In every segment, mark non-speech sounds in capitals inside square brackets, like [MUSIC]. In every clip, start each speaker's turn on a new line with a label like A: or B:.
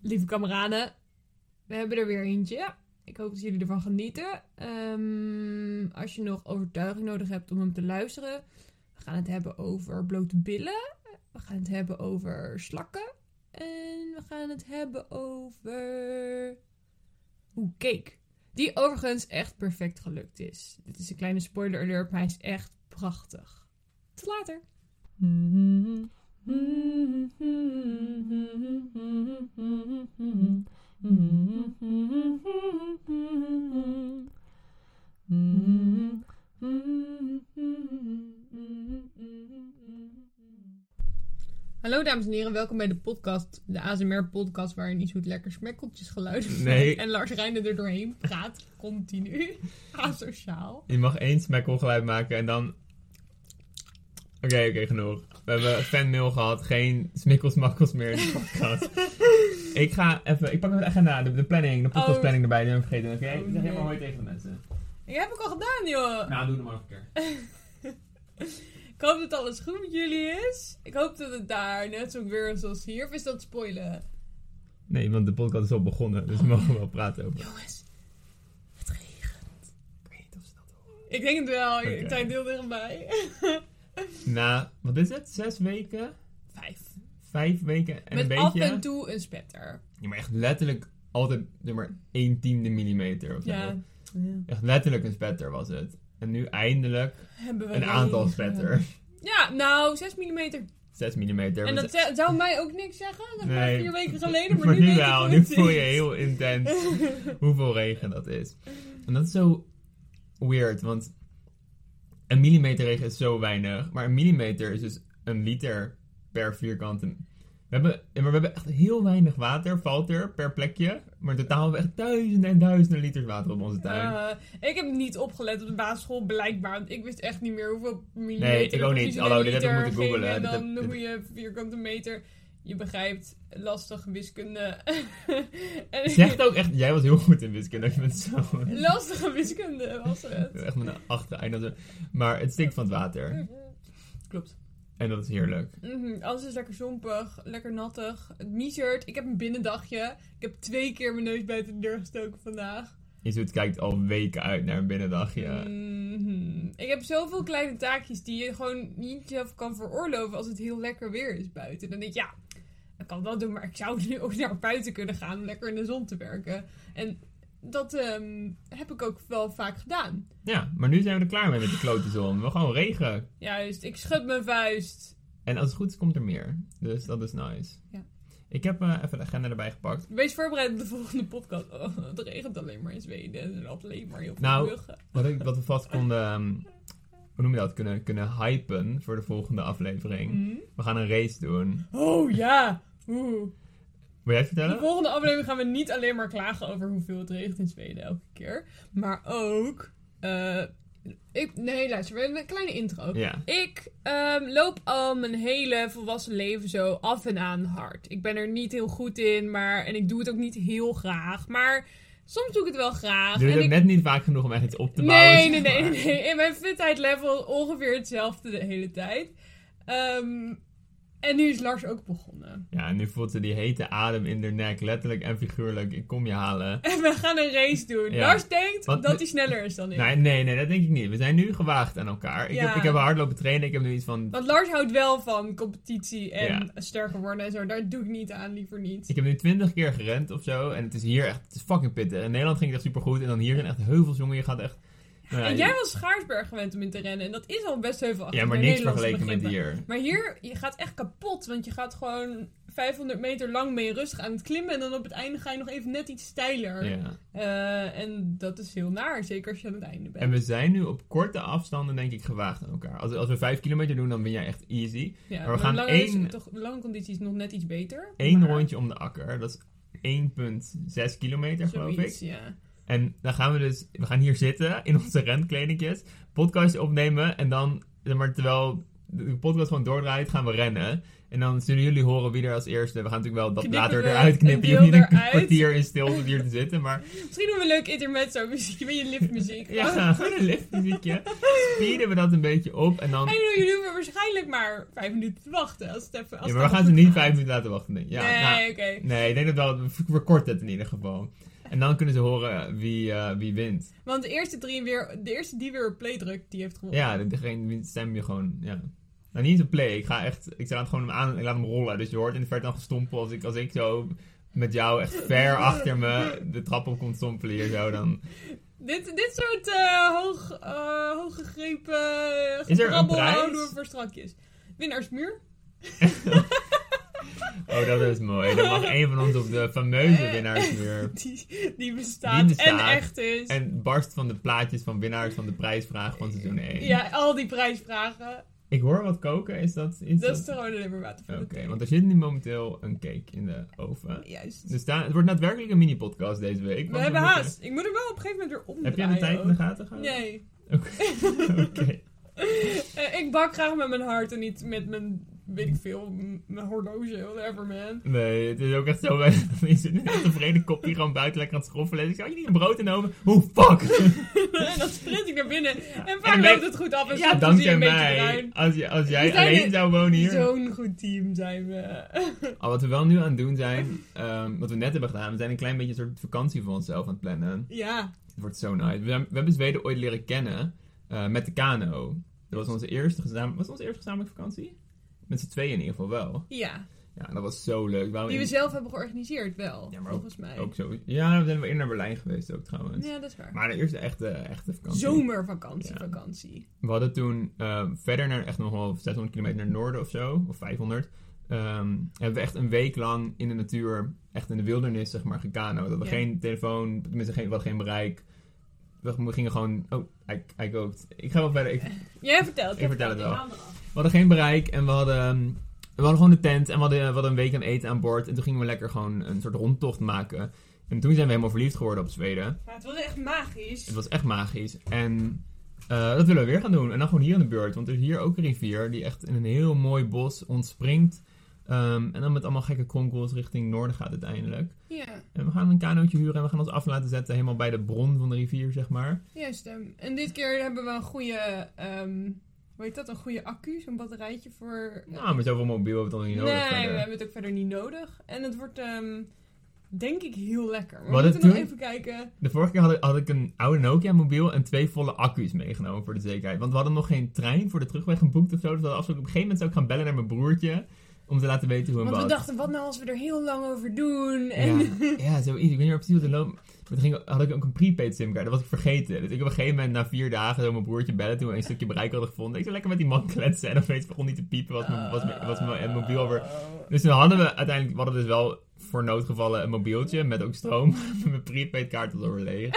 A: lieve kameraden, we hebben er weer eentje. Ik hoop dat jullie ervan genieten. Ehm, als je nog overtuiging nodig hebt om hem te luisteren, we gaan het hebben over blote billen. We gaan het hebben over slakken. En we gaan het hebben over. Oeh, cake. Die overigens echt perfect gelukt is. Dit is een kleine spoiler alert, maar hij is echt prachtig. Tot later. Hallo dames en heren, welkom bij de podcast, de ASMR-podcast waarin niet goed lekker smekkeltjes geluiden
B: Nee.
A: en Lars Reijnen er doorheen praat, continu, asociaal.
B: Je mag één smekkelgeluid maken en dan... Oké, oké, genoeg. We hebben fanmail gehad. Geen smikkelsmakkels meer in de
A: [LAUGHS]
B: podcast. ik ga even... Ik pak even de agenda, de, de planning, de podcastplanning erbij. Die heb ik vergeten. Oké,
A: Oh,
B: zeg helemaal
A: nee. Oh.
B: mooi tegen de mensen.
A: Ik heb ik al gedaan joh!
B: Nou, doe het maar nog een keer.
A: Ik hoop dat alles goed met jullie is. Ik hoop dat het daar net zo weer is als hier, of is dat spoilen?
B: Nee, want de podcast is al begonnen. Dus we mogen wel praten over.
A: Jongens, het regent.
B: Ik weet niet of ze dat horen.
A: Ik denk het wel,
B: Oké.
A: ik zijn deel erbij. [LAUGHS]
B: Na, wat is het? Zes weken?
A: Vijf.
B: Vijf weken en een
A: Met
B: beetje...
A: af en toe een spetter.
B: Ja, maar echt letterlijk altijd zeg maar één tiende millimeter of zo.
A: Ja.
B: Echt letterlijk een spetter was het. En nu eindelijk
A: Hebben we
B: een aantal
A: regen.
B: spetter.
A: Ja, nou, 6 mm
B: 6 millimeter.
A: En
B: want-
A: dat ze- zou mij ook niks zeggen. Dat was vier
B: [LAUGHS]
A: weken geleden, maar,
B: Maar
A: nu,
B: nu
A: weet ik
B: wel,
A: hoe
B: nu
A: het
B: voel je
A: is.
B: heel intens
A: [LAUGHS]
B: hoeveel regen dat is. En dat is zo weird, want een millimeter regen is zo weinig. Maar een millimeter is dus een liter per vierkante. We hebben, ja, maar we hebben echt heel weinig water, valt er per plekje. Maar in totaal hebben we echt duizenden en duizenden liters water op onze tuin.
A: [LAUGHS] Eh, ik heb niet opgelet op de basisschool, blijkbaar. Want ik wist echt niet meer hoeveel millimeter...
B: Nee, ik
A: er
B: ook
A: precies
B: niet.
A: in
B: Hallo,
A: een
B: dit heb ik
A: liter
B: moeten
A: ging
B: googlen.
A: En
B: Dit
A: dan
B: heb- dit-
A: noem je vierkante meter. Je begrijpt, lastige wiskunde. [LAUGHS] En-
B: Zegt ook echt, jij was heel goed in wiskunde. Ik ben zo.
A: Lastige wiskunde was het.
B: Echt met een achtereind. Maar het stinkt van het water.
A: Klopt.
B: En dat is heerlijk.
A: Mhm, alles is lekker zompig, lekker nattig. Het miezert. Ik heb een binnendagje. Ik heb twee keer mijn neus buiten de deur gestoken vandaag.
B: Isoet kijkt al weken uit naar een
A: Mm.
B: binnendagje.
A: Mhm. Ik heb zoveel kleine taakjes die je gewoon niet zelf kan veroorloven als het heel lekker weer is buiten. Dan denk je, ja, ik kan dat doen, maar ik zou [LAUGHS] nu ook naar buiten kunnen gaan om lekker in de zon te werken. En dat ehm, heb ik ook wel vaak gedaan.
B: Ja, maar nu zijn we er klaar mee met die klote zon. We gewoon regen.
A: Juist, ik schud mijn vuist.
B: En als het goed is, komt er meer. Dus dat is nice.
A: Ja.
B: Ik heb eh, even de agenda erbij gepakt.
A: Wees voorbereid op de volgende podcast. [LAUGHS] Oh, het regent alleen maar in Zweden en er loopt alleen maar heel veel
B: Nou,
A: muggen.
B: Wat, ik, wat we vast konden, ehm, hoe noem je dat, kunnen, kunnen hypen voor de volgende aflevering.
A: Mhm.
B: We gaan een race doen.
A: Oh ja! Oeh.
B: Wil jij het
A: De
B: vertellen?
A: volgende aflevering gaan we niet alleen maar klagen over hoeveel het regent in Zweden elke keer. Maar ook. eh, ik, nee, luister, we hebben een kleine intro.
B: Ja.
A: Ik ehm, loop al mijn hele volwassen leven zo af en aan hard. Ik ben er niet heel goed in, maar. En ik doe het ook niet heel graag. Maar soms doe ik het wel graag.
B: Doe je
A: en
B: het
A: ik,
B: net niet vaak genoeg om echt iets op te bouwen?
A: nee, nee,
B: zeg
A: nee,
B: maar.
A: nee, nee. In mijn fitheid-level ongeveer hetzelfde de hele tijd. Ehm, en nu is Lars ook begonnen.
B: Ja, en nu voelt ze die hete adem in haar nek, letterlijk en figuurlijk. Ik kom je halen.
A: En we gaan een race doen.
B: Ja.
A: Lars denkt
B: Want-
A: dat hij sneller is dan ik.
B: Nee, nee, nee, dat denk ik niet. We zijn nu gewaagd aan elkaar. Ik,
A: Ja.
B: heb, ik heb hardlopen trainen. Ik heb nu iets van
A: Want Lars houdt wel van competitie en sterker worden en zo. Daar doe ik niet aan, liever niet.
B: Ik heb nu twintig keer gerend of zo. En het is hier echt het is fucking pittig. In Nederland ging het echt supergoed. En dan hier zijn echt heuvels, jongen. Je gaat echt... Nou ja,
A: en jij was Schaarsberg gewend om in te rennen. En dat is al best heuvelachtig.
B: ja, maar
A: bij
B: niks
A: Nederlandse
B: vergeleken met
A: begrippen.
B: hier.
A: Maar hier, je gaat echt kapot. Want je gaat gewoon 500 meter lang mee rustig aan het klimmen. En dan op het einde ga je nog even net iets steiler.
B: Ja.
A: Eh, en dat is heel naar, zeker als je aan het einde bent.
B: En we zijn nu op korte afstanden, denk ik, gewaagd aan elkaar. Als, als we vijf kilometer doen, dan ben jij echt easy.
A: ja,
B: we gaan
A: lange, is-
B: één-
A: toch, lange conditie is nog net iets beter.
B: Eén
A: maar
B: rondje om de akker. Dat is 1,6 kilometer, geloof ik.
A: zoiets, ja.
B: En dan gaan we dus, we gaan hier zitten in onze rentkledingjes, podcast opnemen en dan, zeg maar, terwijl de podcast gewoon doordraait, gaan we rennen. En dan zullen jullie horen wie er als eerste. We gaan natuurlijk wel dat
A: Knippen
B: later
A: we
B: eruit knippen. Je hoeft
A: een
B: niet
A: deel
B: een
A: eruit.
B: kwartier in stilte hier te zitten.
A: [LAUGHS]
B: Maar
A: Misschien doen we leuk intermezzo muziekje met je lipmuziek. Oh,
B: ja, [LAUGHS] gewoon een liftmuziekje. Speeden we dat een beetje op. En dan.
A: En jullie hoeven waarschijnlijk maar vijf minuten te wachten. Als het even, als
B: Ja,
A: het
B: maar we
A: allemaal
B: gaan ze
A: goed
B: niet
A: gaat.
B: vijf minuten laten wachten. Denk. ik. Ja, nou,
A: nee, oké.
B: nee, ik denk dat wel. We verkorten het in ieder geval. En dan kunnen ze horen wie, eh, wie wint.
A: Want de eerste, drie weer, de eerste die weer op play drukt, die heeft gewonnen.
B: Ja, degene wie stem je gewoon. Ja. Nou, niet eens op play. Ik ga echt. Ik laat gewoon hem aan en ik laat hem rollen. Dus je hoort in de verte dan gestompel. Als ik, als ik zo met jou echt
A: [LAUGHS]
B: ver achter me de trap op kon stompelen hier zo, dan.
A: Dit, dit soort eh hoog, eh, hooggegrepen eh,
B: een
A: gebrabbel
B: prijs?
A: houden we voor strakjes. Winnaarsmuur.
B: Oh, dat is mooi. Dan mag één van ons op de fameuze
A: [LAUGHS]
B: winnaarsmuur.
A: Eh, Die, die, bestaat
B: Die bestaat.
A: en echt is.
B: En barst van de plaatjes van winnaars van de prijsvraag van seizoen 1.
A: Ja, al die prijsvragen.
B: Ik hoor wat koken. Is dat iets?
A: Dat is de rode limmerwater voor
B: Oké,
A: de thee.
B: want er zit nu momenteel een cake in de oven.
A: Juist.
B: Dus daar, het wordt daadwerkelijk een mini-podcast deze week. want
A: we hebben
B: moeten-
A: haast. Ik moet hem wel op een gegeven moment weer
B: Heb je
A: omdraaien.
B: aan de tijd in de
A: ook.
B: gaten gehouden?
A: Nee. [LAUGHS]
B: Oké. [LAUGHS] Oké.
A: Eh, ik bak graag met mijn hart en niet met mijn, weet ik veel, m- mijn horloge, whatever man.
B: Nee, het is ook echt zo. [LAUGHS] Je zit nu echt een vrede kopje gewoon buiten lekker aan het schoffelen. En ik zeg, had "Oh, je niet een brood in de oven? Hoe [LAUGHS] fuck?
A: en dan sprint ik naar binnen. En
B: En
A: vaak
B: wij-
A: loopt het goed af en
B: Ja,
A: soms zie je
B: dankzij
A: een beetje
B: mij.
A: bruin.
B: Als, je, als
A: We
B: jij
A: zijn
B: alleen
A: een-
B: zou wonen hier.
A: Zo'n goed team zijn we. [LAUGHS]
B: Al wat we wel nu aan het doen zijn, ehm, wat we net hebben gedaan, we zijn een klein beetje een soort vakantie voor onszelf aan het plannen.
A: ja.
B: Het wordt zo nice. We, we hebben Zweden ooit leren kennen eh, met de kano. Dat was onze eerste gezamenlijke, was het onze eerste gezamenlijke vakantie? Met z'n tweeën in ieder geval wel.
A: Ja.
B: Ja, dat was zo leuk. We waren
A: Die we
B: in-
A: zelf hebben georganiseerd wel,
B: Ja, maar
A: volgens mij.
B: ook zo. Ja, we zijn weer naar Berlijn geweest ook trouwens.
A: Ja, dat is waar.
B: Maar de eerste echte, echte vakantie.
A: Zomervakantie,
B: Ja.
A: vakantie.
B: We hadden toen eh, verder naar echt nog wel 600 kilometer naar het noorden of zo, of 500. ehm, hebben we echt een week lang in de natuur, echt in de wildernis, zeg maar, gekano. Dat we
A: Ja.
B: geen telefoon, tenminste geen, we hadden geen bereik. We we gingen gewoon. Oh, hij, hij kookt. Ik ga wel verder. Ik,
A: Jij vertelt.
B: Ik
A: jij
B: vertel
A: vertelt.
B: het wel.
A: Ik haal hem af.
B: we hadden geen bereik en we hadden, ehm, we hadden gewoon de tent en we hadden, we hadden een week aan eten aan boord. En toen gingen we lekker gewoon een soort rondtocht maken. En toen zijn we helemaal verliefd geworden op Zweden.
A: Maar het was echt magisch.
B: Het was echt magisch. En eh, dat willen we weer gaan doen. En dan gewoon hier aan de beurt. Want er is hier ook een rivier die echt in een heel mooi bos ontspringt. Ehm, en dan met allemaal gekke kronkels richting noorden gaat uiteindelijk.
A: Ja,
B: En we gaan een kanootje huren en we gaan ons af laten zetten helemaal bij de bron van de rivier, zeg maar.
A: juist. ehm. En dit keer hebben we een goede, ehm hoe heet dat, een goede accu, zo'n batterijtje voor...
B: Nou, maar zoveel mobiel hebben we het dan niet nodig.
A: nee,
B: verder.
A: we hebben het ook verder niet nodig. En het wordt, ehm, denk ik, heel lekker. Maar
B: Wat
A: we
B: het
A: moeten nog even
B: toen?
A: kijken.
B: De vorige keer had ik, had ik een oude Nokia mobiel en twee volle accu's meegenomen voor de zekerheid. Want we hadden nog geen trein voor de terugweg geboekt of zo. Dus we hadden afgesproken, op een gegeven moment zou ik gaan bellen naar mijn broertje. Om te laten weten hoe hem
A: Want we
B: was.
A: dachten, wat nou als we er heel lang over doen? En
B: Ja,
A: [LAUGHS]
B: ja zoiets. Ik weet niet meer precies wat er loopt. Maar toen ging, had ik ook een prepaid simkaart. Dat was ik vergeten. Dus ik op een gegeven moment na vier dagen zo mijn broertje bellen toen we een stukje bereik hadden gevonden. Ik zou lekker met die man [LAUGHS] kletsen en opeens begon niet te piepen. Was mijn, was mijn, was mijn mobiel alweer... Dus toen hadden we uiteindelijk, we hadden dus wel voor noodgevallen een mobieltje met ook stroom. [LAUGHS] mijn prepaid kaart was alweer leeg.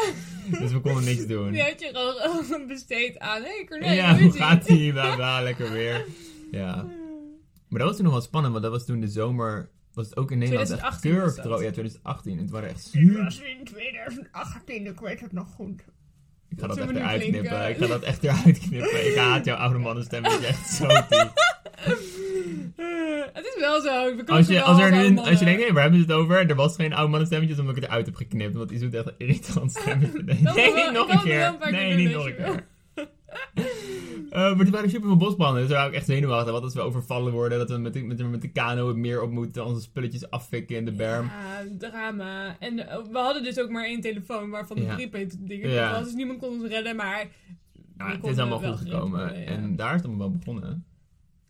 B: dus we konden niks doen.
A: Die had je gewoon [LAUGHS] besteed aan. Hé, hey, Corné,
B: [LAUGHS] ja,
A: hoe
B: hoe
A: is ie?
B: gaat ie? Bla, bla, lekker weer. Ja. Maar dat was toen nog wel spannend, want dat was toen de zomer... Was het ook in Nederland echt
A: 2018 was dat.
B: kurkdroog. Ja, 2018. En het waren echt
A: Dit
B: super
A: was in 2018, ik weet het nog goed.
B: Ik ga
A: Dat
B: dat,
A: zullen
B: echt
A: we nu
B: eruit
A: klinken.
B: knippen. Ik ga dat echt eruit knippen. Ik haat jouw oude mannenstem. Het is echt
A: [LAUGHS]
B: zo diep.
A: Eh, [LAUGHS] het is wel zo. We
B: Als
A: klinken
B: je,
A: wel
B: als, er nu,
A: allemaal,
B: als
A: eh,
B: je denkt, hé, waar hebben ze het over? Er was geen oude mannenstemmetje, dan heb ik het eruit heb geknipt. Want die zoet echt een irritant stemmetje. Nee,
A: kan
B: nee
A: wel-
B: niet nog
A: kan
B: een
A: wel
B: keer.
A: een paar keer
B: Nee,
A: doen als
B: niet nog een
A: je wil.
B: keer. [LAUGHS] Eh, maar toen waren er super veel bosbranden. Dus daar waren we echt zenuwachtig. Wat als we overvallen worden. Dat we met de, met, de- met de kano het meer op moeten. Onze spulletjes afvikken in de berm.
A: Ja, drama. En eh, we hadden dus ook maar één telefoon waarvan de
B: Ja.
A: prepaid dingen
B: Ja.
A: was. Dus niemand kon ons redden, maar
B: Ja,
A: we
B: het is
A: konden
B: allemaal
A: wel
B: goed
A: gered
B: gekomen.
A: worden, ja.
B: En daar is het allemaal wel begonnen.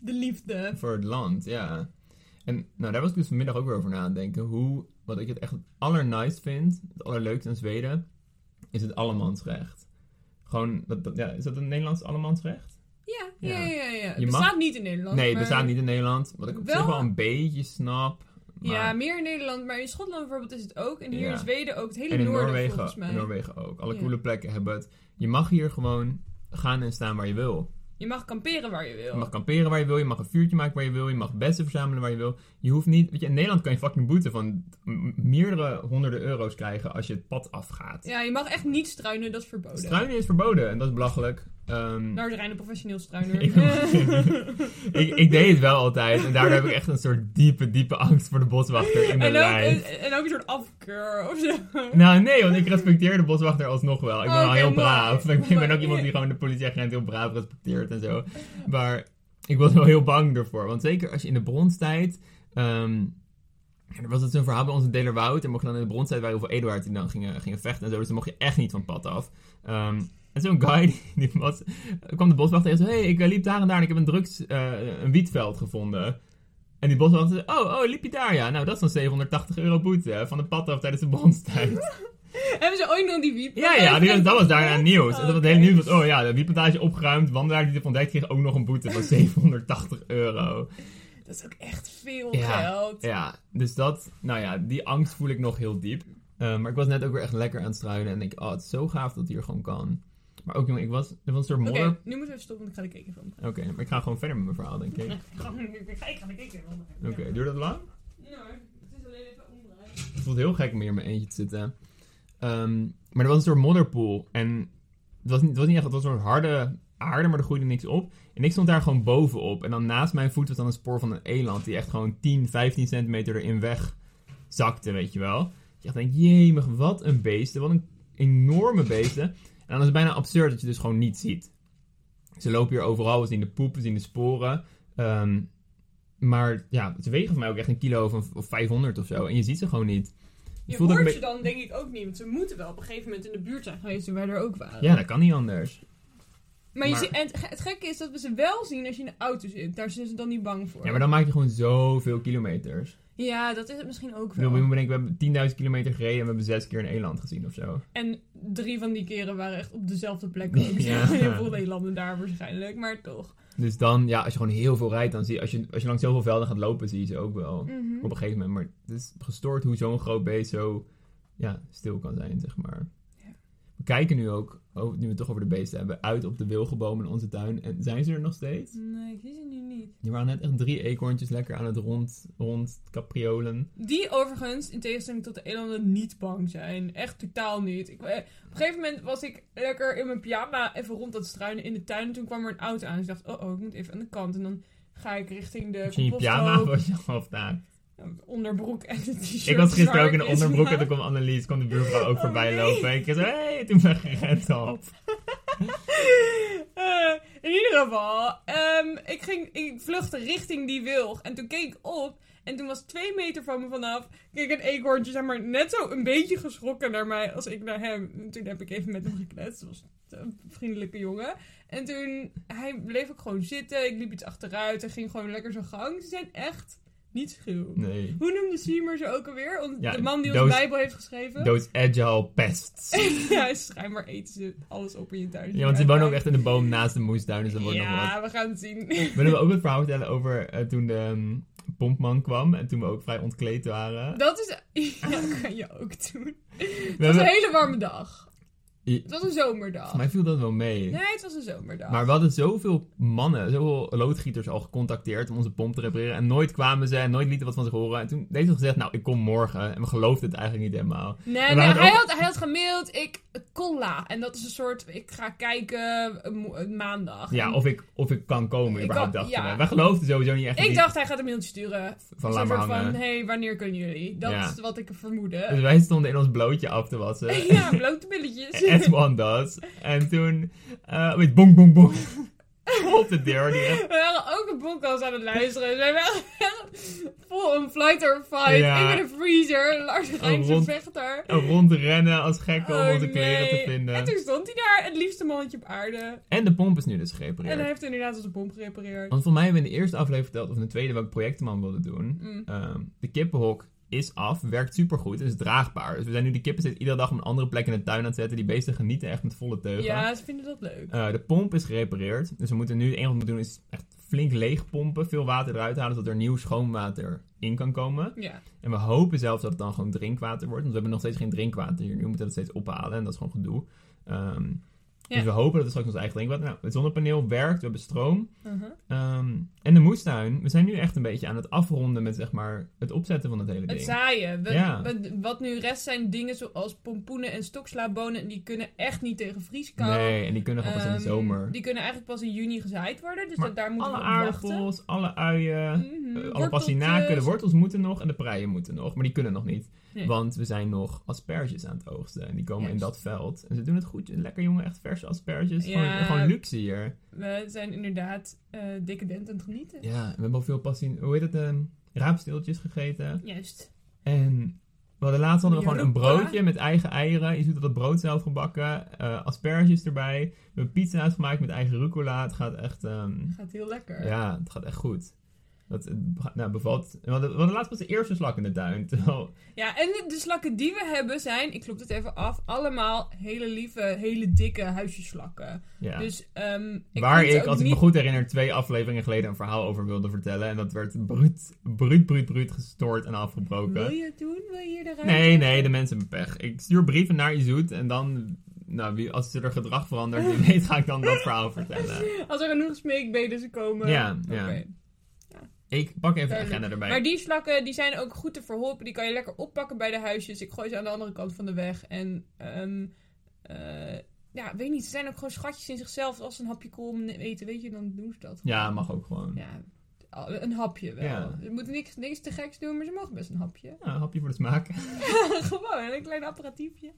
A: de liefde.
B: Voor het land, ja. En nou, daar was ik dus vanmiddag ook weer over na aan het denken. Hoe, wat ik het echt het allernice vind, het allerleukste aan Zweden, is het allemansrecht. Gewoon, dat, dat- ja, is dat een Nederlands allemansrecht?
A: Ja, ja, ja.
B: Ja.
A: ja, ja. Het
B: Je mag-
A: bestaat niet in Nederland.
B: nee, het
A: maar-
B: bestaat niet in Nederland. Wat ik op
A: Wel-
B: zich wel een beetje snap. Maar,
A: Ja, meer in Nederland, maar in Schotland bijvoorbeeld is het ook. En hier
B: Ja.
A: in Zweden ook. Het hele
B: en in
A: noorden volgens
B: Noorwegen,
A: mij.
B: in Noorwegen ook. Alle
A: Ja.
B: coole plekken hebben het. Je mag hier gewoon gaan en staan waar je wil.
A: Je mag kamperen waar je wil.
B: Je mag kamperen waar je wil, je mag een vuurtje maken waar je wil, je mag bessen verzamelen waar je wil. Je hoeft niet, weet je, in Nederland kan je fucking boete van m- meerdere honderden euro's krijgen als je het pad afgaat.
A: Ja, je mag echt niet struinen, dat is verboden.
B: Struinen is verboden en dat is belachelijk. Eh, Ehm,
A: Lars Rijn, een
B: [LAUGHS]
A: professioneel struiner.
B: Ik-
A: [LAUGHS]
B: ik, ik deed het wel altijd. En daardoor heb ik echt een soort diepe, diepe angst voor de boswachter in mijn
A: en, ook,
B: lijf.
A: en, en ook een soort afkeur of zo. [LAUGHS]
B: Nou, nee, want ik respecteer de boswachter alsnog wel. Ik ben
A: Oké,
B: al heel
A: mooi.
B: braaf. Ik ben, ik ben
A: Mooi.
B: ook iemand die gewoon de politieagent heel braaf respecteert en zo. Maar ik was wel heel bang ervoor. Want zeker als je in de bronstijd... ehm, er was het zo'n verhaal bij onze Delerwoud. En mocht je dan in de bronstijd waren heel veel Eduard die dan gingen, gingen vechten en zo. Dus dan mocht je echt niet van het pad af. Ehm, en zo'n guy, [LAUGHS] die, die was, kwam de boswachter en zei... hey, ik eh, liep daar en daar en ik heb een drugs... eh, een wietveld gevonden. En die boswachter zei... Oh, oh, liep je daar? Ja, nou dat is dan 780 euro boete van de pad af tijdens de bronstijd.
A: Hebben ze ooit nog die wiep?
B: Ja, ja, die- dat was daarna nieuws.
A: Oh,
B: En dat was
A: oké.
B: het hele nieuws was, oh ja, de wietplantage opgeruimd. Wandelaar die dit ontdekt kreeg ook nog een
A: [LAUGHS]
B: boete van 780 euro.
A: Dat is ook echt veel
B: Ja.
A: geld.
B: Ja, dus dat, nou ja, die angst voel ik nog heel diep. Eh, maar ik was net ook weer echt lekker aan het struinen. En ik, oh, het is zo gaaf dat het hier gewoon kan. Maar ook, jongen, ik was, er was een soort
A: Oké,
B: modder. Oké,
A: nu moeten we even stoppen, want ik ga de kekenfilm gaan.
B: maar ik ga gewoon verder met mijn verhaal, denk ik.
A: Ik ga [LAUGHS] ik ga- ik ga de kekenfilm gaan.
B: Oké, duurt dat lang?
A: Nou, het is alleen even omdraaien.
B: Het voelt heel gek om hier in mijn eentje te zitten. Ehm, maar er was een soort modderpoel. En het was niet, het was niet echt, het was een soort harde aarde, maar er groeide niks op. En ik stond daar gewoon bovenop. En dan naast mijn voet was dan een spoor van een eland die echt gewoon 10, 15 centimeter erin weg zakte, weet je wel. Je echt denkt, jemig, wat een beesten. Wat een enorme beesten. En dan is het bijna absurd dat je dus gewoon niet ziet. Ze lopen hier overal, we zien de poep, we zien de sporen. Ehm, maar ja, ze wegen voor mij ook echt een kilo of, een- of 500 of zo. En je ziet ze gewoon niet.
A: Je
B: voelt ook een
A: hoort
B: be-
A: ze dan denk ik ook niet, want ze moeten wel op een gegeven moment in de buurt zijn geweest toen wij er ook waren.
B: Ja, dat kan niet anders.
A: Maar, je
B: Maar-
A: ziet, en het, ge- het gekke is dat we ze wel zien als je in de auto zit. Daar zijn ze dan niet bang voor.
B: Ja, maar dan maak je gewoon zoveel kilometers.
A: Ja, dat is het misschien ook
B: Ik bedoel, je
A: wel.
B: moet bedenken, we hebben 10.000 kilometer gereden en we hebben zes keer een eland gezien of zo.
A: En drie van die keren waren echt op dezelfde plek ook.
B: [LAUGHS] Ja.
A: [LAUGHS] Heel veel Nederlanden daar waarschijnlijk, maar toch.
B: Dus dan, ja, als je gewoon heel veel rijdt, dan zie je, als je, als je langs zoveel velden gaat lopen, zie je ze ook wel.
A: Mhm.
B: Op een gegeven moment, maar het is gestoord hoe zo'n groot beest zo, ja, stil kan zijn, zeg maar.
A: Ja.
B: We kijken nu ook, over- nu we het toch over de beesten hebben, uit op de wilgenbomen in onze tuin. En zijn ze er nog steeds?
A: Nee, ik zie ze nu niet.
B: Er waren net echt drie eekhoorntjes lekker aan het rond, rond capriolen.
A: Die overigens, in tegenstelling tot de elanden, niet bang zijn. Echt totaal niet. Ik, eh, op een gegeven moment was ik lekker in mijn pyjama even rond dat struinen in de tuin. En toen kwam er een auto aan. Dus ik dacht, oh, oh, ik moet even aan de kant. En dan ga ik richting de
B: Als je in je pyjama was je al afdaag.
A: de onderbroek en de t-shirt.
B: Ik was gisteren
A: waar
B: ook in
A: ik
B: een onderbroek en
A: slaap.
B: toen kwam Annelies, kwam de buurvrouw ook
A: Oh,
B: voorbij
A: nee.
B: lopen. En ik zei, hé, hey, toen ben ik gerend al.
A: Eh, in ieder geval, ehm, ik, ging, ik vluchtte richting die wilg. En toen keek ik op. En toen was twee meter van me vanaf. Keek een eekhoortje, zeg maar, net zo een beetje geschrokken naar mij als ik naar hem. En toen heb ik even met hem gekletst. Het was een vriendelijke jongen. En toen, hij bleef ook gewoon zitten. Ik liep iets achteruit en ging gewoon lekker zijn gang. Ze zijn echt niet schuw.
B: Nee.
A: Hoe noemde Seymour ze ook alweer? Ons-
B: Ja,
A: de man die
B: doos-
A: ons Bijbel heeft geschreven.
B: Those agile pests.
A: [LAUGHS] ja, schijnbaar eten ze alles op in je tuin.
B: Ja, want ze wonen ook echt in de boom naast de moestuin, dus dat wordt nog wat.
A: Ja, we gaan het zien. [LAUGHS]
B: Willen we ook het verhaal vertellen over eh, toen de ehm, pompman kwam en toen we ook vrij ontkleed waren?
A: Dat is... [LAUGHS] Ja, dat kan je ook doen.
B: We
A: Het was
B: hebben-
A: een hele warme dag.
B: Ja.
A: Het was een zomerdag.
B: Volgens mij viel dat wel mee.
A: Nee, het was een zomerdag.
B: Maar we hadden zoveel mannen, zoveel loodgieters al gecontacteerd om onze pomp te repareren. En nooit kwamen ze en nooit lieten wat van zich horen. En toen heeft ze gezegd, nou, ik kom morgen. En we geloofden het eigenlijk niet helemaal.
A: Nee, nee
B: En we hadden
A: hij,
B: ook-
A: had, hij had gemaild, ik colla. En dat is een soort, ik ga kijken eh, mo- eh, maandag.
B: Ja,
A: En
B: of ik, of ik kan komen,
A: Ik
B: überhaupt
A: kan-
B: dachten
A: ja.
B: we. Wij geloofden sowieso niet echt in
A: Ik
B: die-
A: dacht, hij gaat een mailtje sturen.
B: van
A: Zo'n
B: laat maar
A: soort
B: hangen.
A: van, eh, hey, wanneer kunnen jullie? Dat
B: Ja. Eh.
A: is wat ik
B: Dus
A: vermoedde.
B: wij stonden in ons blootje af te
A: [LAUGHS]
B: wassen.
A: ja, blote
B: [LAUGHS]
A: billetjes.
B: As one does. En toen, eh weet, bong, bong, bong. [LAUGHS] op de deur. Die echt-
A: [LAUGHS] We waren ook een podcast aan het luisteren. Dus wij waren echt [LAUGHS] vol een flight or fight.
B: Ja.
A: Ik ben een freezer. Lars Rijns een
B: rond-
A: vechter.
B: rondrennen als gekken om
A: Oh,
B: onze kleren
A: nee.
B: te vinden.
A: En
B: En,
A: toen stond hij daar, het liefste mannetje op aarde.
B: de pomp is nu dus
A: En hij
B: gerepareerd.
A: heeft inderdaad onze pomp gerepareerd.
B: Want voor mij hebben we in de eerste aflevering verteld, of in de tweede, welk project de man wilde doen.
A: Mm.
B: Ehm, de kippenhok is af, werkt supergoed en is draagbaar. Dus we zijn nu de kippen steeds iedere dag op een andere plek in de tuin aan het zetten. Die beesten genieten echt met volle teugen.
A: Ja, ze vinden dat leuk.
B: Eh, de pomp is gerepareerd. Dus we moeten nu, het enige wat we moeten doen is echt flink leeg pompen. Veel water eruit halen, zodat er nieuw schoon water in kan komen.
A: Ja.
B: En we hopen zelfs dat het dan gewoon drinkwater wordt. Want we hebben nog steeds geen drinkwater hier. Nu moeten we dat steeds ophalen en dat is gewoon gedoe. Ehm,
A: Ja.
B: Dus we hopen dat we straks ons eigen drinkwater... Nou, het zonnepaneel werkt, we hebben stroom.
A: Uh-huh.
B: Ehm, en de moestuin, we zijn nu echt een beetje aan het afronden met zeg maar het opzetten van het hele ding.
A: Het zaaien. We-
B: Ja.
A: we- wat nu rest zijn dingen zoals pompoenen en stokslaabonen. Die kunnen echt niet tegen vrieskou.
B: Nee, en die kunnen gewoon pas in de
A: Ehm,
B: zomer.
A: Die kunnen eigenlijk pas in juni gezaaid worden. Dus
B: Maar
A: dat, daar moeten
B: Alle
A: we op wachten.
B: aardappels, alle uien,
A: Mhm,
B: eh, alle
A: worteltjes.
B: pastinaken, de wortels moeten nog en de preien moeten nog. Maar die kunnen nog niet,
A: Nee.
B: want we zijn nog asperges aan het oogsten. En die komen in
A: Juist.
B: dat veld. En ze doen het goed. Lekker jongen, echt verse asperges.
A: Ja.
B: Gewoon, gewoon luxe hier.
A: We zijn inderdaad eh decadent aan het genieten.
B: Ja, we hebben al veel passie. Hoe heet het? eh, raapsteeltjes gegeten.
A: Juist.
B: En we hadden laatst hadden we gewoon een
A: Europa.
B: broodje met eigen eieren. Je ziet dat het brood zelf gebakken. eh, asperges erbij. We hebben pizza's gemaakt met eigen rucola. Het gaat echt... ehm,
A: Gaat heel lekker.
B: Ja, het gaat echt goed. Dat het be- nou, bevalt. We hadden, we hadden laatst pas de eerste slak in de tuin. [LAUGHS] Terwijl,
A: Ja, en de, de slakken die we hebben zijn, ik klop dit even af, allemaal hele lieve, hele dikke huisjeslakken.
B: ja.
A: Dus, ehm, ik
B: Waar
A: vind het
B: ik,
A: ook
B: als ik
A: niet-
B: me goed herinner, twee afleveringen geleden een verhaal over wilde vertellen. En dat werd bruut, bruut, bruut, bruut gestoord en
A: Wil
B: afgebroken.
A: je het doen? Wil je hier eruit?
B: Nee, nee, de mensen hebben pech. Ik stuur brieven naar Izoet en dan, nou, wie, als ze er gedrag verandert, wie weet, ga ik dan dat verhaal vertellen.
A: Als er genoeg smeekbeden ze komen.
B: Ja, ja.
A: Oké.
B: Ik pak even de
A: Duidelijk.
B: agenda erbij.
A: Maar die slakken die zijn ook goed te verholpen. Die kan je lekker oppakken bij de huisjes. Ik gooi ze aan de andere kant van de weg. En ehm, eh, ja, weet niet. Ze zijn ook gewoon schatjes in zichzelf. Als ze een hapje kool eten, weet je, dan doen ze dat. gewoon.
B: Ja, mag ook gewoon. Ja.
A: Ja, een hapje wel.
B: Ja.
A: Ze moeten niks, niks te geks doen, maar ze mogen best een hapje.
B: een hapje voor de smaak. [LAUGHS]
A: [LAUGHS] gewoon een klein apparatiefje.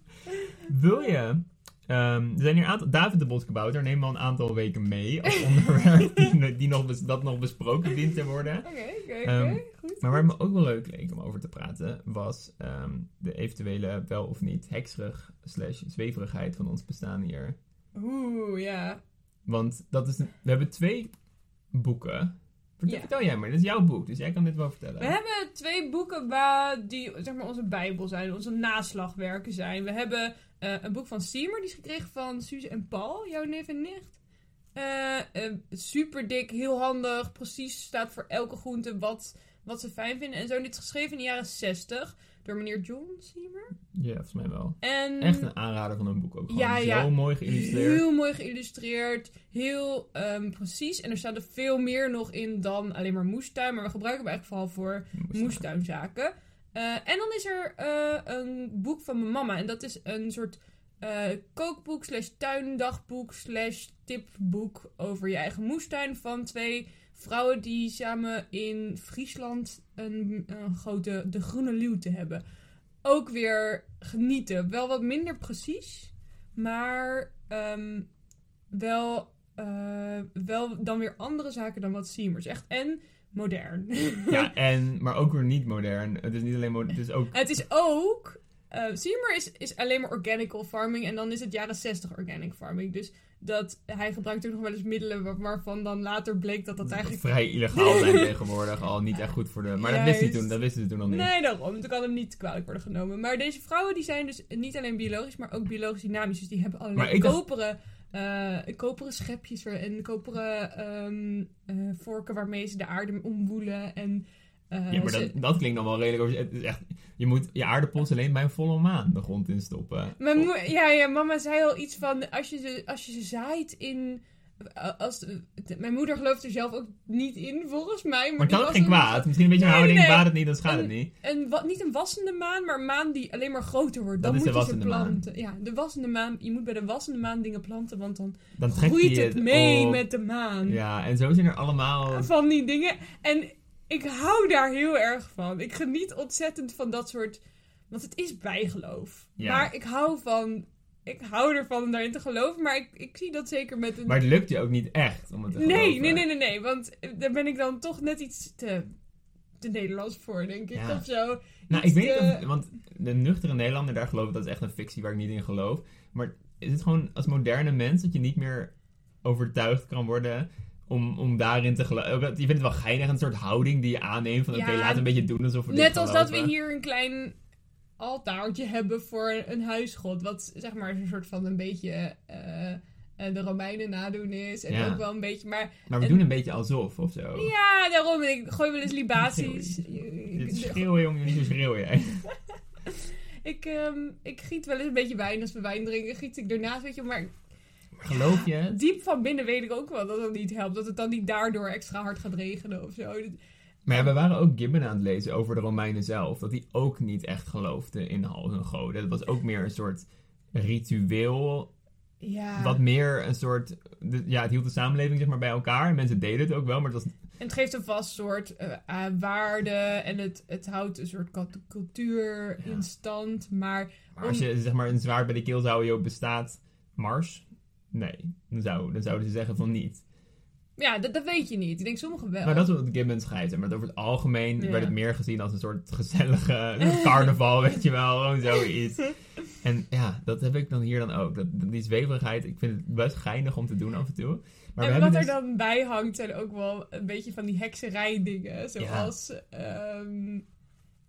B: Wil je? ehm, er zijn hier een aantal. David de Boskabouter neem al een aantal weken mee als [LAUGHS] onderwerp die, die nog bes- dat nog besproken dient te worden.
A: Oké, oké,
B: Ehm,
A: oké. Goed.
B: Maar waar het me ook wel leuk leek om over te praten, was ehm, de eventuele wel of niet hekserig slash zweverigheid van ons bestaan hier.
A: Oeh, ja.
B: Want dat is een- we hebben twee boeken. Vertel,
A: Ja.
B: vertel jij maar, dit is jouw boek, dus jij kan dit wel vertellen.
A: We hebben twee boeken waar die zeg maar, onze bijbel zijn, onze naslagwerken zijn. We hebben eh, een boek van Siemer, die is gekregen van Suze en Paul, jouw neef en nicht. super dik, heel handig, precies staat voor elke groente wat, wat ze fijn vinden. En zo, dit is geschreven in de jaren 60 door meneer John Siemer.
B: Ja, volgens mij wel.
A: En
B: Echt een aanrader van een boek ook. Gewoon
A: Mm. Ja,
B: zo
A: ja.
B: mooi geïllustreerd.
A: Heel mooi geïllustreerd. Heel ehm, precies. En er staat er veel meer nog in dan alleen maar moestuin. Maar we gebruiken hem eigenlijk vooral voor moestuinzaken. Eh, en dan is er eh, een boek van mijn mama. En dat is een soort eh, kookboek slash tuindagboek slash tipboek over je eigen moestuin. Van twee vrouwen die samen in Friesland een, een grote De Groene Luwte hebben. Ook weer genieten. Wel wat minder precies. Maar ehm, wel, eh, wel dan weer andere zaken dan wat Siemers. Echt en modern. [LAUGHS]
B: Ja, en, maar ook weer niet modern. Het is niet alleen modern, het is ook
A: Het is ook. eh Seymour is, is alleen maar organical farming en dan is het jaren 60 organic farming. Dus dat, hij gebruikt ook nog wel eens middelen wa- waarvan dan later bleek dat dat eigenlijk.
B: vrij illegaal zijn tegenwoordig al. Niet echt goed voor de... Maar dat, wist hij
A: Juist.
B: toen, dat wisten ze toen al niet.
A: Nee, daarom. Het kan hem niet kwalijk worden genomen. Maar deze vrouwen die zijn dus niet alleen biologisch, maar ook biologisch dynamisch. Dus die hebben
B: Maar
A: allerlei
B: ik dacht-
A: koperen, eh, koperen schepjes er en koperen ehm, eh, vorken waarmee ze de aarde omwoelen. En, eh,
B: Ja, maar
A: ze-
B: dat, dat klinkt dan wel redelijk... over- Het is echt, je moet je aardappels alleen bij een volle maan de grond instoppen.
A: Mijn moe- ja, ja, mama zei al iets van, als je ze, als je ze zaait in... eh, Als, de- mijn moeder gelooft er zelf ook niet in, volgens mij.
B: Maar het
A: die
B: kan ook
A: was
B: geen
A: een-
B: kwaad. Misschien een beetje een
A: Nee,
B: houding,
A: nee.
B: baat het niet, dan schaadt het niet.
A: Een, wa- niet een wassende maan, maar een maan die alleen maar groter wordt.
B: Dat
A: Dan
B: is de
A: moet je ze
B: wassende maan.
A: planten. Ja, de wassende maan. Je moet bij de wassende maan dingen planten, want dan
B: Dan trekt
A: groeit
B: hij
A: het mee
B: op.
A: met de maan.
B: Ja, en zo zijn er allemaal...
A: Van die dingen. En ik hou daar heel erg van. Ik geniet ontzettend van dat soort. Want het is bijgeloof.
B: Ja.
A: Maar ik hou van. Ik hou ervan om daarin te geloven. Maar ik, ik zie dat zeker met een.
B: Maar het lukt je ook niet echt om het te
A: nee,
B: geloven.
A: nee, nee, nee, nee. Want eh, daar ben ik dan toch net iets te. te Nederlands voor, denk ik.
B: Ja.
A: Of zo.
B: Nou, ik
A: Iets
B: weet niet
A: te-
B: of... Want de nuchtere Nederlander, daar geloof ik, dat is echt een fictie waar ik niet in geloof. Maar is het gewoon als moderne mens dat je niet meer overtuigd kan worden om, om daarin te geloven? Je vindt het wel geinig, een soort houding die je aanneemt van
A: Ja,
B: oké, laat een beetje doen alsof we dit
A: Net als dat we
B: geloven.
A: hier een klein altaartje hebben voor een huisgod. Wat zeg maar een soort van een beetje eh, eh, de Romeinen nadoen is. En
B: Ja.
A: ook wel een beetje. Maar
B: Maar we
A: en-
B: doen een beetje alsof, of zo.
A: ja, daarom. Ik gooi wel eens
B: [LAUGHS]
A: libaties.
B: Dit
A: Ik,
B: schreeuwen, jongen, niet zo schreeuwen jij.
A: [LAUGHS] ik, ehm, ik giet wel eens een beetje wijn als we wijn drinken. Giet ik daarnaast, weet je. Maar
B: Maar Geloof je het?
A: Diep van binnen weet ik ook wel dat dat niet helpt. Dat het dan niet daardoor extra hard gaat regenen of zo. Dat-
B: Maar ja, we waren ook Gibbon aan het lezen over de Romeinen zelf. Dat die ook niet echt geloofden in al hun goden. Dat was ook meer een soort ritueel
A: Ja.
B: Wat meer een soort. de- ja, het hield de samenleving zeg maar bij elkaar. En mensen deden het ook wel, maar het was.
A: En het geeft een vast soort eh, aan waarde en het, het houdt een soort kat- cultuur
B: Ja.
A: in stand. Maar
B: Maar als je zeg maar een zwaard bij de keel zou houden, joh, bestaat Mars? Nee, dan, zou, dan zouden ze zeggen van niet.
A: ja, dat, dat weet je niet. Ik denk sommigen wel.
B: Maar dat is wat Gibbon scheidt. Maar over het algemeen
A: Ja.
B: werd het meer gezien als een soort gezellige [LAUGHS] carnaval, weet je wel. Gewoon
A: [LAUGHS]
B: zoiets. En ja, dat heb ik dan hier dan ook. Dat, die zweverigheid, ik vind het best geinig om te doen af en toe. Maar
A: en
B: hebben
A: wat er
B: dus-
A: dan bij hangt zijn ook wel een beetje van die hekserij dingen. Zoals ehm,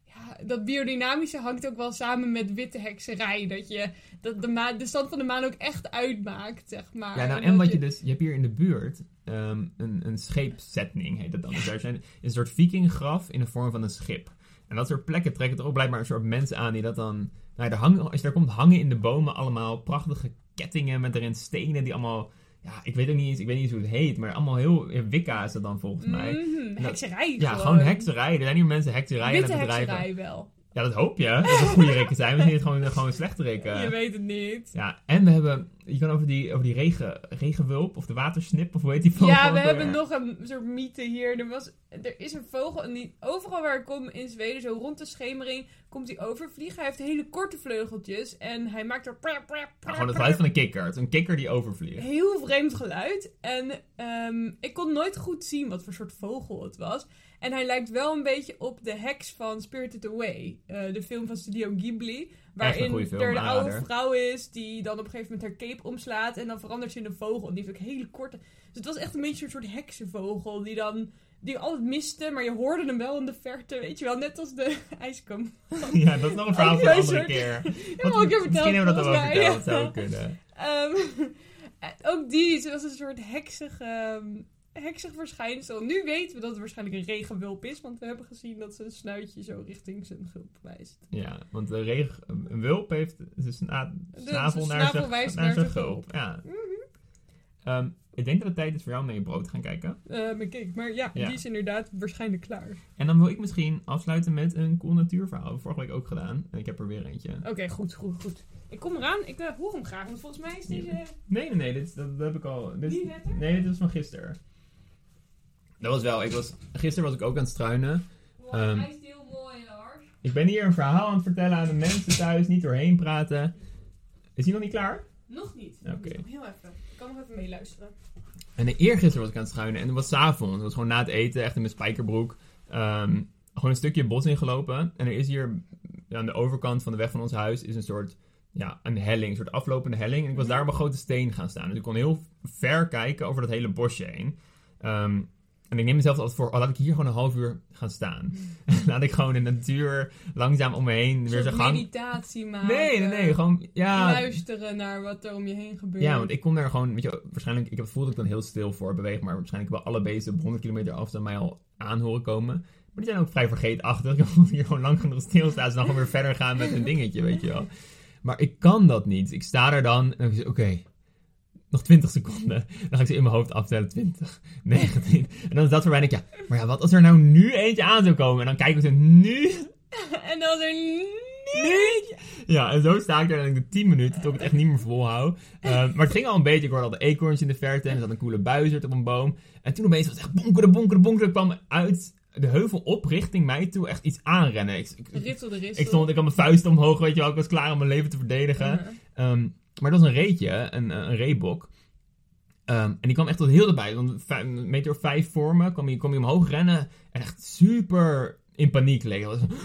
A: ja, dat biodynamische hangt ook wel samen met witte hekserij. Dat je dat de, maan- de stand van de maan ook echt uitmaakt, zeg maar.
B: Ja, nou, en
A: Omdat
B: wat je dus... Je hebt hier in de buurt ehm, een, een scheepszetting, heet dat dan. Dus daar zijn een soort vikinggraf in de vorm van een schip. En dat soort plekken trekken toch ook blijkbaar een soort mensen aan die dat dan... Nou, ja, daar hangen, als je daar komt hangen in de bomen allemaal prachtige kettingen met erin stenen die allemaal... Ja, ik weet ook niet eens, ik weet niet eens hoe het heet, maar allemaal heel... Ja, Wicca is dat dan volgens mij.
A: Mhm,
B: dus- dat-
A: hekserij
B: Ja,
A: gewoon.
B: gewoon hekserij. Er zijn hier mensen hekserij aan het
A: Witte
B: bedrijven.
A: hekserij wel.
B: Ja, dat hoop je. Dat het goede rekken zijn. Misschien is het gewoon, gewoon slechte [LAUGHS] rekken.
A: Je weet het niet.
B: Ja, en we hebben, je kan over die, over die regen, regenwulp of de watersnip of hoe heet die vogel
A: Ja,
B: ook
A: we
B: alweer?
A: hebben nog een soort mythe hier. Er, was, er is een vogel en die overal waar ik kom in Zweden, zo rond de schemering, komt hij overvliegen. Hij heeft hele korte vleugeltjes en hij maakt er... pra- pra- pra-
B: Ja, gewoon het
A: pra-
B: geluid van een kikker. Het is Een kikker die overvliegt.
A: Heel vreemd geluid. En ehm, ik kon nooit goed zien wat voor soort vogel het was. En hij lijkt wel een beetje op de heks van Spirited Away. eh, de film van Studio Ghibli.
B: goede
A: Waarin
B: film,
A: er een oude
B: aanrader.
A: vrouw is die dan op een gegeven moment haar cape omslaat. En dan verandert ze in een vogel. En die heeft ook hele korte... Dus het was echt een beetje een soort heksenvogel die dan... Die altijd miste, maar je hoorde hem wel in de verte. Weet je wel, net als de [LAUGHS] ijskamp.
B: [LAUGHS] Ja, dat is nog een verhaal
A: Ook
B: voor een
A: zo'n
B: andere
A: soort- [LAUGHS]
B: keer.
A: heb ik al een keer verteld,
B: misschien hebben we dat al wel
A: volgens mij.
B: verteld. Zou kunnen.
A: Ehm, [LAUGHS] en ook die, ze was een soort heksig, ehm, heksig verschijnsel. Nu weten we dat het waarschijnlijk een regenwulp is, want we hebben gezien dat zijn snuitje zo richting zijn gulp wijst.
B: Ja, want de regen, een wulp heeft dus zijn sna-
A: zijn
B: snavel naar
A: snavel
B: zijn,
A: wijst
B: naar
A: naar Mhm.
B: zijn
A: zijn
B: gulp. Ja. Ehm, ik denk dat het tijd is voor jou om naar je brood te gaan kijken.
A: Ehm, ik kijk, maar ja,
B: Ja.
A: die is inderdaad waarschijnlijk klaar.
B: En dan wil ik misschien afsluiten met een cool natuurverhaal. Dat heb ik vorige week ook gedaan. En ik heb er weer eentje.
A: Oké, goed, goed, goed. Ik kom eraan, ik eh, hoor hem graag, want volgens mij is deze...
B: Nee, nee, nee, dit, is- dat, dat heb ik al. Dit, is-
A: Die letter?
B: Nee, dit is van gisteren. Dat was wel, ik was, gisteren was ik ook aan het struinen.
A: Wow,
B: Ehm.
A: hij is heel mooi hoor.
B: Ik ben hier een verhaal aan het vertellen aan de mensen thuis, niet doorheen praten. Is die nog niet klaar?
A: Nog niet. [LAUGHS]
B: Oké.
A: Nog niet, Heel even. Ik kan nog even meeluisteren.
B: En de eergisteren was ik aan het struinen en het was 's avonds. Het was gewoon na het eten, echt in mijn spijkerbroek. ehm, gewoon een stukje bos ingelopen. En er is hier aan de overkant van de weg van ons huis is een soort, ja, een helling. Een soort aflopende helling. En ik was daar op een grote steen gaan staan. Dus ik kon heel ver kijken over dat hele bosje heen. Ehm, en ik neem mezelf altijd voor, oh, laat ik hier gewoon een half uur gaan staan. [LAUGHS] laat ik gewoon de natuur langzaam om me heen
A: Een
B: weer zijn
A: soort
B: gang...
A: meditatie maken.
B: Nee, nee, nee, gewoon, ja...
A: Luisteren naar wat er om je heen gebeurt.
B: Ja, want ik kom daar gewoon, weet je, waarschijnlijk, ik heb het gevoel dat ik dan heel stil voor beweeg, maar waarschijnlijk hebben alle beesten op 100 kilometer afstand mij al aan horen komen. Maar die zijn ook vrij vergeetachtig. [LAUGHS] Ik heb het gevoel dat hier gewoon lang genoeg stilstaan, ze dan gewoon weer verder gaan met hun dingetje, weet je wel. Maar ik kan dat niet. Ik sta er dan en dan zeg ik, oké, nog 20 seconden. Dan ga ik ze in mijn hoofd aftellen, 20, 19. En dan is dat voor mij, denk ik, ja, maar ja, wat als er nou nu eentje aan zou komen? En dan kijken we ze nu
A: [LAUGHS] En dan er
B: Nee. Ja, en zo sta ik daar denk ik 10 minuten, tot ik het echt niet meer volhoud. Eh, maar het ging al een beetje, ik hoorde al de eekhoorns in de verte en er zat een coole buizerd op een boom. En toen opeens was het echt bonkeren, bonkeren, bonkeren, kwam uit de heuvel op richting mij toe echt iets aanrennen. Ik, ik, ik,
A: Ritsel de ritsel.
B: stond, ik had mijn vuist omhoog, weet je wel, ik was klaar om mijn leven te verdedigen. Ehm, maar dat was een reetje, een, eh, een reebok. Ehm, en die kwam echt tot heel erbij. Want vij- een meter of vijf voor me kwam hij kwam hij omhoog rennen. En echt super in paniek leek. Dat was-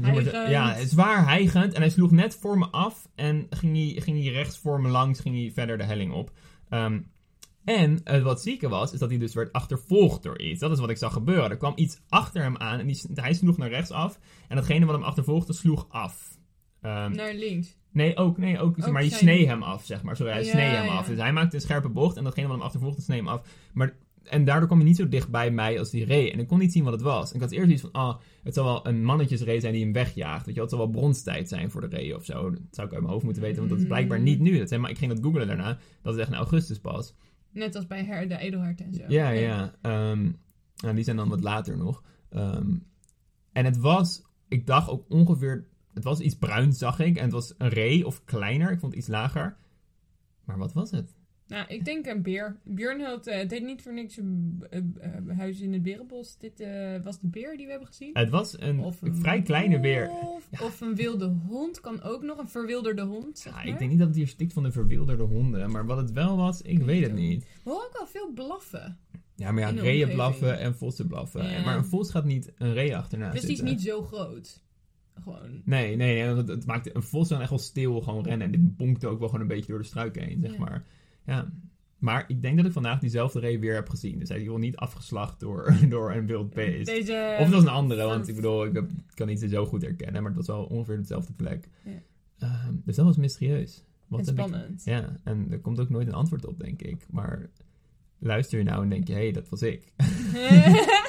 A: Hijgend.
B: Ja, zwaar hijgend. En hij sloeg net voor me af. En ging hij, ging hij rechts voor me langs, ging hij verder de helling op. Ehm, en eh, wat zieke was, is dat hij dus werd achtervolgd door iets. Dat is wat ik zag gebeuren. Er kwam iets achter hem aan en die, s- hij sloeg naar rechts af. En datgene wat hem achtervolgde, sloeg af. Ehm,
A: Naar links.
B: Nee, ook, nee, ook,
A: Ook
B: maar die
A: zijn-
B: snee hem af, zeg maar. Sorry, hij
A: Ja,
B: snee hem
A: ja.
B: af. Dus hij maakte een scherpe bocht en datgene wat hem achtervolgde snee hem af. Maar en daardoor kwam hij niet zo dicht bij mij als die ree. En ik kon niet zien wat het was. En ik had eerst iets van, ah, het zal wel een mannetjesree zijn die hem wegjaagt. Weet je, wel, het zal wel bronstijd zijn voor de ree of zo. Dat zou ik uit mijn hoofd moeten weten, want
A: Mm.
B: dat is blijkbaar niet nu. Dat zijn, maar ik ging dat googlen daarna. Dat is echt in augustus pas.
A: Net als bij her, de edelhert en zo.
B: Ja, ja. Ehm, nou, die zijn dan wat later nog. Ehm, en het was, ik dacht ook ongeveer, het was iets bruins, zag ik. En het was een ree of kleiner. Ik vond het iets lager. Maar wat was het?
A: Nou, ik denk een beer. Björn had, eh, het heet niet voor niks een eh, eh, huis in het berenbos. Dit eh, was de beer die we hebben gezien.
B: Het was een,
A: Of een
B: vrij kleine weer.
A: wolf, Of een wilde hond kan ook nog. Een verwilderde hond, zeg
B: Ja,
A: maar.
B: ik denk niet dat het hier stikt van de verwilderde honden. Maar wat het wel was, ik
A: Kan
B: weet
A: niet
B: het
A: doen.
B: niet.
A: We horen ook al veel blaffen.
B: Ja, maar
A: In de
B: ja, reeën
A: omgeving.
B: blaffen en vossen blaffen.
A: Ja.
B: Maar een vos gaat niet een ree achterna
A: Dus die is
B: zitten.
A: niet zo groot. Gewoon.
B: Nee, nee, nee. want Het, het maakt een vos dan echt wel stil gewoon rennen. En dit bonkte ook wel gewoon een beetje door de struiken heen, zeg
A: Ja.
B: maar. Ja. Maar ik denk dat ik vandaag diezelfde ree weer heb gezien. Dus hij is wel niet afgeslacht door, [LAUGHS] door een wild beest.
A: Deze...
B: of het was een andere, want
A: ver-
B: ik bedoel, ik heb- ik kan niet zo goed herkennen. Maar het was wel ongeveer dezelfde plek.
A: Ja.
B: Ehm, dus dat was mysterieus. Wat
A: en
B: heb ik-
A: spannend.
B: Ja, en er komt ook nooit een antwoord op, denk ik. Maar luister je nou en denk je, hé, hey, dat was ik.
A: [LAUGHS]
B: [LAUGHS]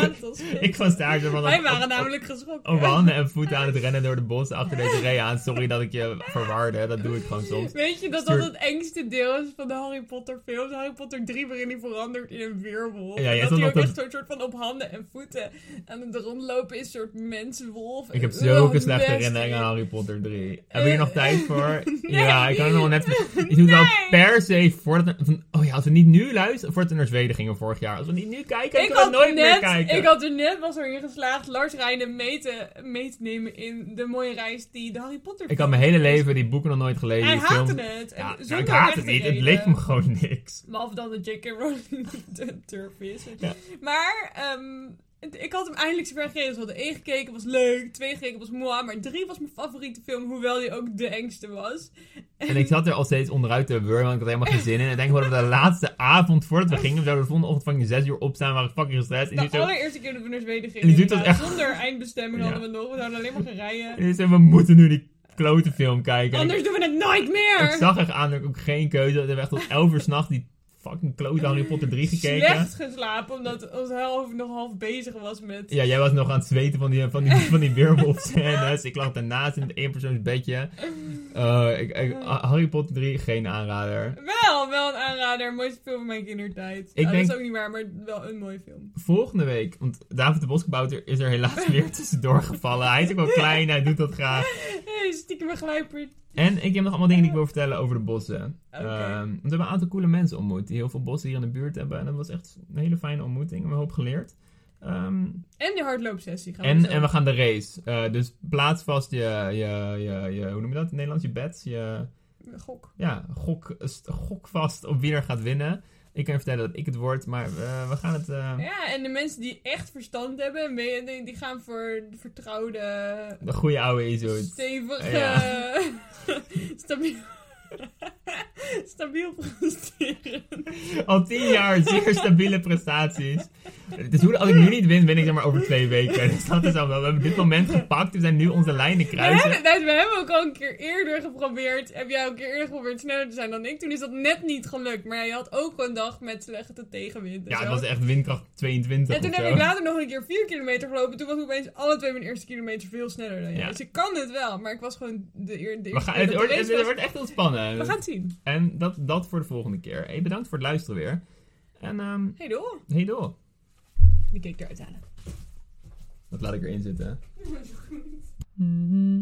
A: Dat was
B: ik was daar zo van...
A: Wij
B: op-
A: waren
B: op-
A: namelijk geschrokken.
B: Op handen Oh, en voeten aan het rennen door de bossen achter deze ree aan. Sorry dat ik je verwarde, dat doe ik gewoon soms.
A: Weet je dat
B: Stuur-
A: dat het engste deel is van de Harry Potter films? Harry Potter 3 waarin hij verandert in een weerwolf.
B: Ja, jij
A: En dat
B: zat
A: hij
B: nog
A: ook
B: te-
A: echt zo'n soort van op handen en voeten aan het rondlopen is. Een soort mensenwolf.
B: Ik heb
A: Oh,
B: zulke slechte
A: nasty.
B: herinneringen aan Harry Potter 3. Heb je er nog tijd
A: [LAUGHS]
B: voor?
A: Eh, Nee.
B: Ja, ik kan er nog wel net... Ik doe het wel
A: Nee.
B: per se voordat... we- Van, oh ja, als we niet nu luisteren... Voordat we naar Zweden gingen vorig jaar. Als we niet nu kijken,
A: Ik
B: kunnen
A: had,
B: we nooit meer
A: net,
B: kijken.
A: ik had er net, was erin geslaagd, Lars Rijnen mee te, mee te nemen in de mooie reis die de Harry Potter
B: Ik had mijn hele leven die boeken nog nooit gelezen.
A: Hij
B: die film-
A: haatte het.
B: Ja,
A: En
B: nou,
A: zonder
B: ik haat het
A: echte
B: niet. Het
A: reden.
B: leek me gewoon niks.
A: Behalve dan dat J.K. Rowling [LAUGHS] de turf is.
B: Ja.
A: Maar ehm, het- ik had hem eindelijk zover gegeven. Dus we hadden één gekeken, was leuk. Twee gekeken, was mooi. Maar drie was mijn favoriete film, hoewel die ook de engste was.
B: En ik zat er al steeds onderuit te wurmen, want ik had helemaal geen zin in. En ik denk wel dat we de laatste avond voordat we gingen, we zouden de volgende ochtend fucking 6 uur opstaan, waren we fucking gestrest. En
A: De
B: nu zo,
A: allereerste keer dat we naar Zweden gingen.
B: En die doet dat
A: inderdaad,
B: echt-
A: Zonder eindbestemming
B: Ja.
A: hadden we nog. We zouden alleen maar gaan rijden.
B: en nu zo, we moeten nu die klote film kijken. En ik-
A: Anders doen we het nooit
B: ik,
A: meer!
B: zag echt aan dat ik ook geen keuze had. We hebben echt tot 11 uur s'nachts die fucking klote Harry Potter 3 gekeken.
A: Slecht geslapen, omdat ons half nog half bezig was met...
B: Ja, jij was nog aan het zweten van die,
A: [LAUGHS]
B: van die, van die weerwolfscènes. Ik lag daarnaast in het eenpersoonsbedje. Eh, ik, ik-
A: Oh.
B: Harry Potter 3, geen aanrader.
A: Wel, wel een aanrader. Mooiste film van mijn kindertijd.
B: Ik
A: Nou,
B: denk-
A: Dat is ook niet waar, maar wel een mooie film.
B: volgende week, want David de Boskabouter is er
A: [LAUGHS]
B: helaas weer tussendoor gevallen. Hij is ook wel klein, hij doet dat graag.
A: Hey, stiekem een gluiperd.
B: En ik heb nog allemaal dingen die ik wil vertellen over de bossen.
A: Oké.
B: Ehm, want we hebben een aantal coole mensen ontmoet die heel veel bossen hier in de buurt hebben. En dat was echt een hele fijne ontmoeting. We hebben een hoop geleerd. Ehm,
A: En de hardloopsessie gaan
B: en,
A: we
B: en we gaan de race. Eh, dus plaats vast je, je, je, je, hoe noem je dat? In het Nederlands, je bets. Je,
A: gaan... Gok.
B: ja, gok, st- gok vast op wie er gaat winnen. Ik kan je vertellen dat ik het word, maar eh, we gaan het... eh,
A: Ja, en de mensen die echt verstand hebben, en mee- die, die gaan voor de vertrouwde,
B: de goede oude Izoet.
A: stevige,
B: Ja.
A: [LAUGHS] stabiel, [LAUGHS] stabiel presteren.
B: Al tien jaar zeer stabiele prestaties. Dus hoe, als ik nu niet win, win ik zeg maar over twee weken. [LAUGHS] Dus dat is al wel. We hebben dit moment gepakt. We zijn nu onze lijnen
A: We hebben,
B: kruisen.
A: nou, we hebben ook al een keer eerder geprobeerd, heb jij ook een keer eerder geprobeerd sneller te zijn dan ik. Toen is dat net niet gelukt, maar jij had ook een dag met slechte tegenwind. en
B: Ja, het
A: zo.
B: was echt windkracht 22
A: En toen
B: of zo.
A: heb ik later nog een keer 4 kilometer gelopen. Toen was ik opeens alle twee mijn eerste kilometer veel sneller dan jij.
B: Ja.
A: Dus ik kan het wel, maar ik was gewoon de, eer, de
B: We
A: eerste
B: gaan,
A: keer
B: het,
A: dat
B: wordt,
A: de
B: het,
A: race was.
B: wordt echt ontspannen.
A: We gaan het zien.
B: En dat, dat voor de volgende keer. Hey, bedankt voor het luisteren weer. En ehm
A: Hey doel.
B: hey door. [LAUGHS]
A: Die keek eruit aan.
B: Dat laat ik erin zitten.
A: Mm-hmm.